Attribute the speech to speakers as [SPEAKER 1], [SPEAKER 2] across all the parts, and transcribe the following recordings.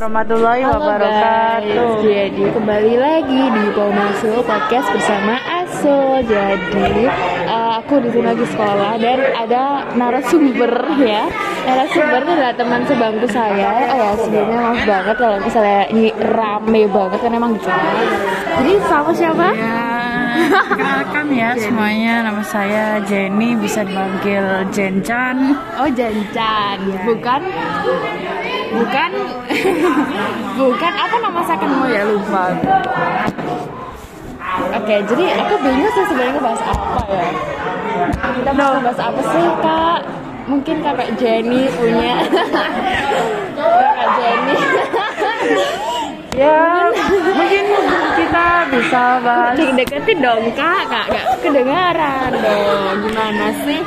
[SPEAKER 1] warahmatullahi
[SPEAKER 2] Halo
[SPEAKER 1] wabarakatuh.
[SPEAKER 2] guys, jadi kembali lagi di Pomasul Podcast bersama Asul. Jadi eh, aku di sini lagi sekolah dan ada narasumber ya. Narasumber itu adalah teman sebangku saya. Oh ya sebelumnya maaf banget kalau misalnya ini rame banget kan emang gitu. Jadi sama siapa?
[SPEAKER 1] Ya, perkenalkan ya semuanya. Nama saya Jenny, bisa dipanggil Jencan.
[SPEAKER 2] Oh Jancan, bukan bukan bukan apa nama secondmu ya lupa. Oke, jadi aku bingung sih sebenarnya bahas apa ya. Kita mau bahas apa sih kak? Mungkin kakak Jenny punya kakak Jenny.
[SPEAKER 1] Ya, mungkin kita bisa bahas.
[SPEAKER 2] Cik deketin dong kak, kak gak kedengaran dong. Gimana sih?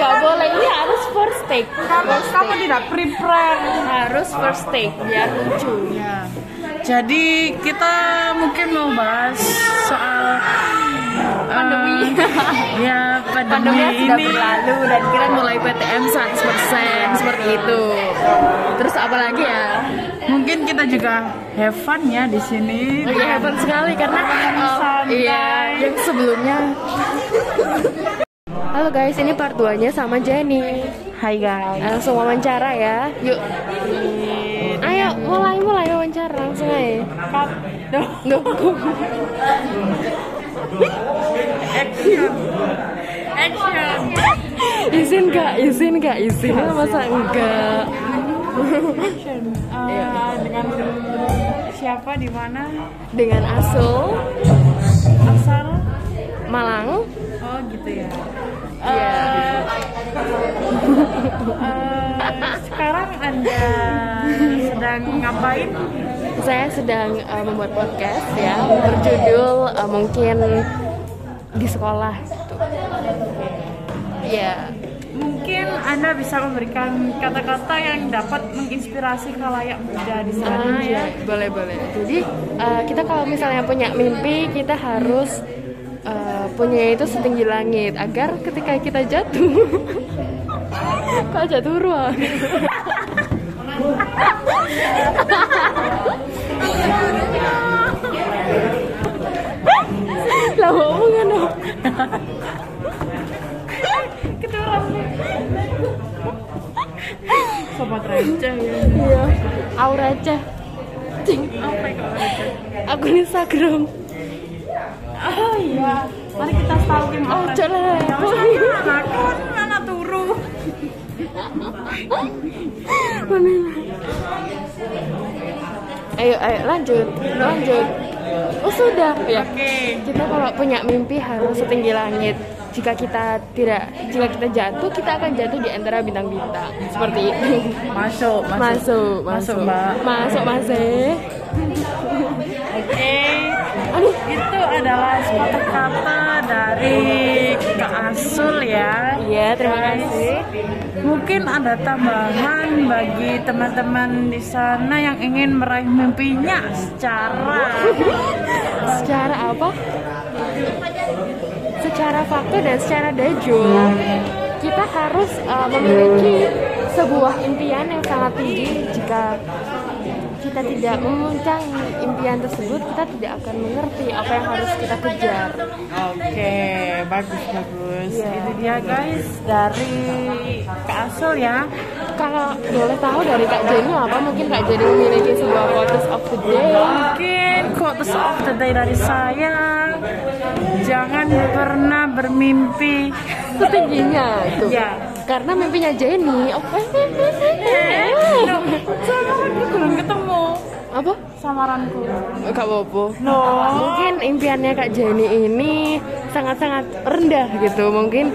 [SPEAKER 2] Gak boleh, ini harus first take. First
[SPEAKER 1] Kamu
[SPEAKER 2] take.
[SPEAKER 1] tidak prepare.
[SPEAKER 2] harus first take biar lucu.
[SPEAKER 1] Ya. Jadi kita mungkin mau bahas soal
[SPEAKER 2] Pandemi.
[SPEAKER 1] eh, ya pandemi,
[SPEAKER 2] Pandemi sudah
[SPEAKER 1] ini.
[SPEAKER 2] berlalu dan kita mulai PTM 100% seperti itu. Terus apa lagi ya?
[SPEAKER 1] Mungkin kita juga have fun ya di sini.
[SPEAKER 2] Lagi hebat sekali karena
[SPEAKER 1] iya. oh,
[SPEAKER 2] iya,
[SPEAKER 1] iya,
[SPEAKER 2] yang sebelumnya. Halo guys, ini part 2-nya sama Jenny. Eh,
[SPEAKER 1] Hai guys.
[SPEAKER 2] Langsung wawancara ya. Yuk. Ayo, mulai mulai wawancara langsung aja. Cut. Duh, duh.
[SPEAKER 1] Action.
[SPEAKER 2] izin kak, izin kak, izin. Masa enggak? Iya,
[SPEAKER 1] Eh, dengan siapa di mana
[SPEAKER 2] Dengan Asul,
[SPEAKER 1] asal
[SPEAKER 2] Malang,
[SPEAKER 1] oh gitu ya
[SPEAKER 2] Iya.
[SPEAKER 1] Eh, sekarang anda sedang ngapain
[SPEAKER 2] saya sedang eh, membuat podcast ya berjudul eh, mungkin di sekolah gitu. Ya,
[SPEAKER 1] mungkin anda bisa memberikan kata-kata yang dapat menginspirasi khalayak muda di sana
[SPEAKER 2] ah,
[SPEAKER 1] ya
[SPEAKER 2] ya, boleh boleh. Jadi eh, kita kalau misalnya punya mimpi kita harus eh, punya itu setinggi langit agar ketika kita jatuh, kok jatuh ruang? lah kan, omongan dong.
[SPEAKER 1] sobat raja ya
[SPEAKER 2] Iya. Aura aja. Cing. Aku di Instagram.
[SPEAKER 1] oh iya mari kita stalking
[SPEAKER 2] Oh,
[SPEAKER 1] orang.
[SPEAKER 2] jangan.
[SPEAKER 1] Jangan stalking anak aku anak turu
[SPEAKER 2] Ayo, ayo lanjut, lanjut. Oh sudah ya.
[SPEAKER 1] oke
[SPEAKER 2] Kita kalau punya mimpi harus setinggi langit. Jika kita tidak, jika kita jatuh, kita akan jatuh di antara bintang-bintang. Seperti itu.
[SPEAKER 1] masuk
[SPEAKER 2] Masuk,
[SPEAKER 1] masuk
[SPEAKER 2] masuk,
[SPEAKER 1] mbak
[SPEAKER 2] masuk, E. masih.
[SPEAKER 1] Oke,
[SPEAKER 2] Aduh.
[SPEAKER 1] Eh, itu adalah sepatah kata dari Kak Asul ya.
[SPEAKER 2] Iya, terima
[SPEAKER 1] Guys,
[SPEAKER 2] kasih.
[SPEAKER 1] Mungkin ada tambahan bagi teman-teman di sana yang ingin meraih mimpinya secara
[SPEAKER 2] Secara apa? Secara fakta dan secara dajul, kita harus uh, memiliki sebuah impian yang sangat tinggi. Jika kita tidak memuncang impian tersebut, kita tidak akan mengerti apa yang harus kita kejar.
[SPEAKER 1] Oke, bagus bagus.
[SPEAKER 2] Iya.
[SPEAKER 1] Itu dia guys dari Kak Asul ya.
[SPEAKER 2] Kalau boleh tahu dari Kak Jenny apa mungkin Kak Jenny memiliki sebuah quotes of the day?
[SPEAKER 1] Mungkin quotes of the day dari saya Jangan pernah bermimpi
[SPEAKER 2] Setingginya itu.
[SPEAKER 1] Iya.
[SPEAKER 2] Karena mimpinya Jenny. Oke.
[SPEAKER 1] Loh, Sama kan belum ketemu
[SPEAKER 2] Apa?
[SPEAKER 1] samaranku.
[SPEAKER 2] Kak Bobo.
[SPEAKER 1] No.
[SPEAKER 2] Mungkin impiannya Kak Jenny ini sangat-sangat rendah gitu. Mungkin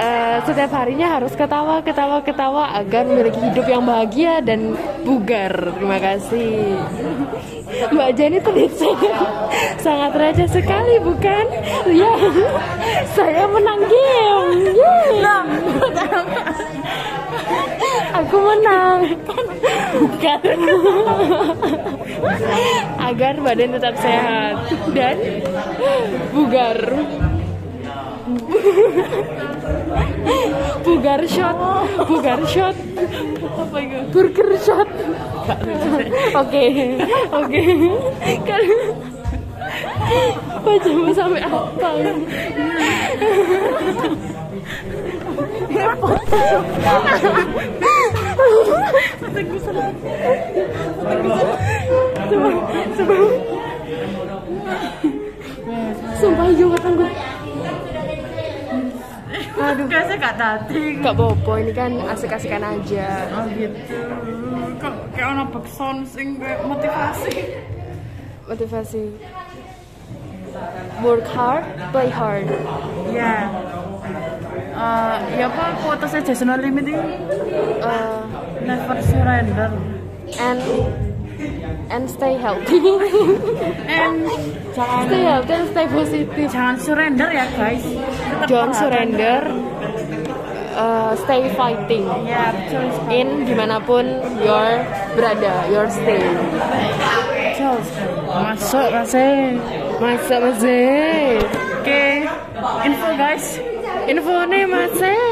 [SPEAKER 2] eh, setiap harinya harus ketawa, ketawa, ketawa agar memiliki hidup yang bahagia dan bugar. Terima kasih. Mbak Jenny terlihat sangat raja sekali, bukan? Ya, saya menang game. Yeay. Aku menang. Bukan. Agar badan tetap sehat dan bugar. bugar shot bugar shot
[SPEAKER 1] apa itu
[SPEAKER 2] burger shot oke oke kan wajahmu sampai apa sebelum sebelum sumpah yuk kata gue
[SPEAKER 1] aduh saya gak tadi
[SPEAKER 2] gak bobo ini kan asik-asikan aja
[SPEAKER 1] oh gitu kok kayak ono backsound sing kayak motivasi
[SPEAKER 2] motivasi work hard play hard
[SPEAKER 1] ya Eh, ya apa quotesnya Jason Limit itu
[SPEAKER 2] uh,
[SPEAKER 1] never surrender
[SPEAKER 2] and and stay healthy
[SPEAKER 1] and jangan
[SPEAKER 2] stay healthy and stay positive
[SPEAKER 1] jangan surrender ya guys Tetap
[SPEAKER 2] don't
[SPEAKER 1] semangat.
[SPEAKER 2] surrender uh, stay fighting
[SPEAKER 1] ya betul sekali.
[SPEAKER 2] in dimanapun your berada your stay
[SPEAKER 1] betul sekali. masuk masih
[SPEAKER 2] masa masih
[SPEAKER 1] oke info guys
[SPEAKER 2] info nih masih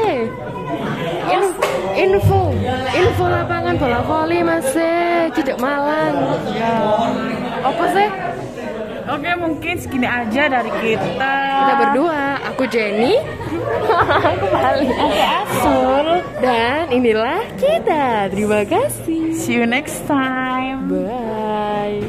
[SPEAKER 2] info info lapangan bola voli masih tidak malang
[SPEAKER 1] ya
[SPEAKER 2] apa sih
[SPEAKER 1] oke mungkin segini aja dari kita
[SPEAKER 2] kita berdua aku Jenny aku Mali
[SPEAKER 1] Oke, Asul.
[SPEAKER 2] dan inilah kita terima kasih
[SPEAKER 1] See you next time.
[SPEAKER 2] bye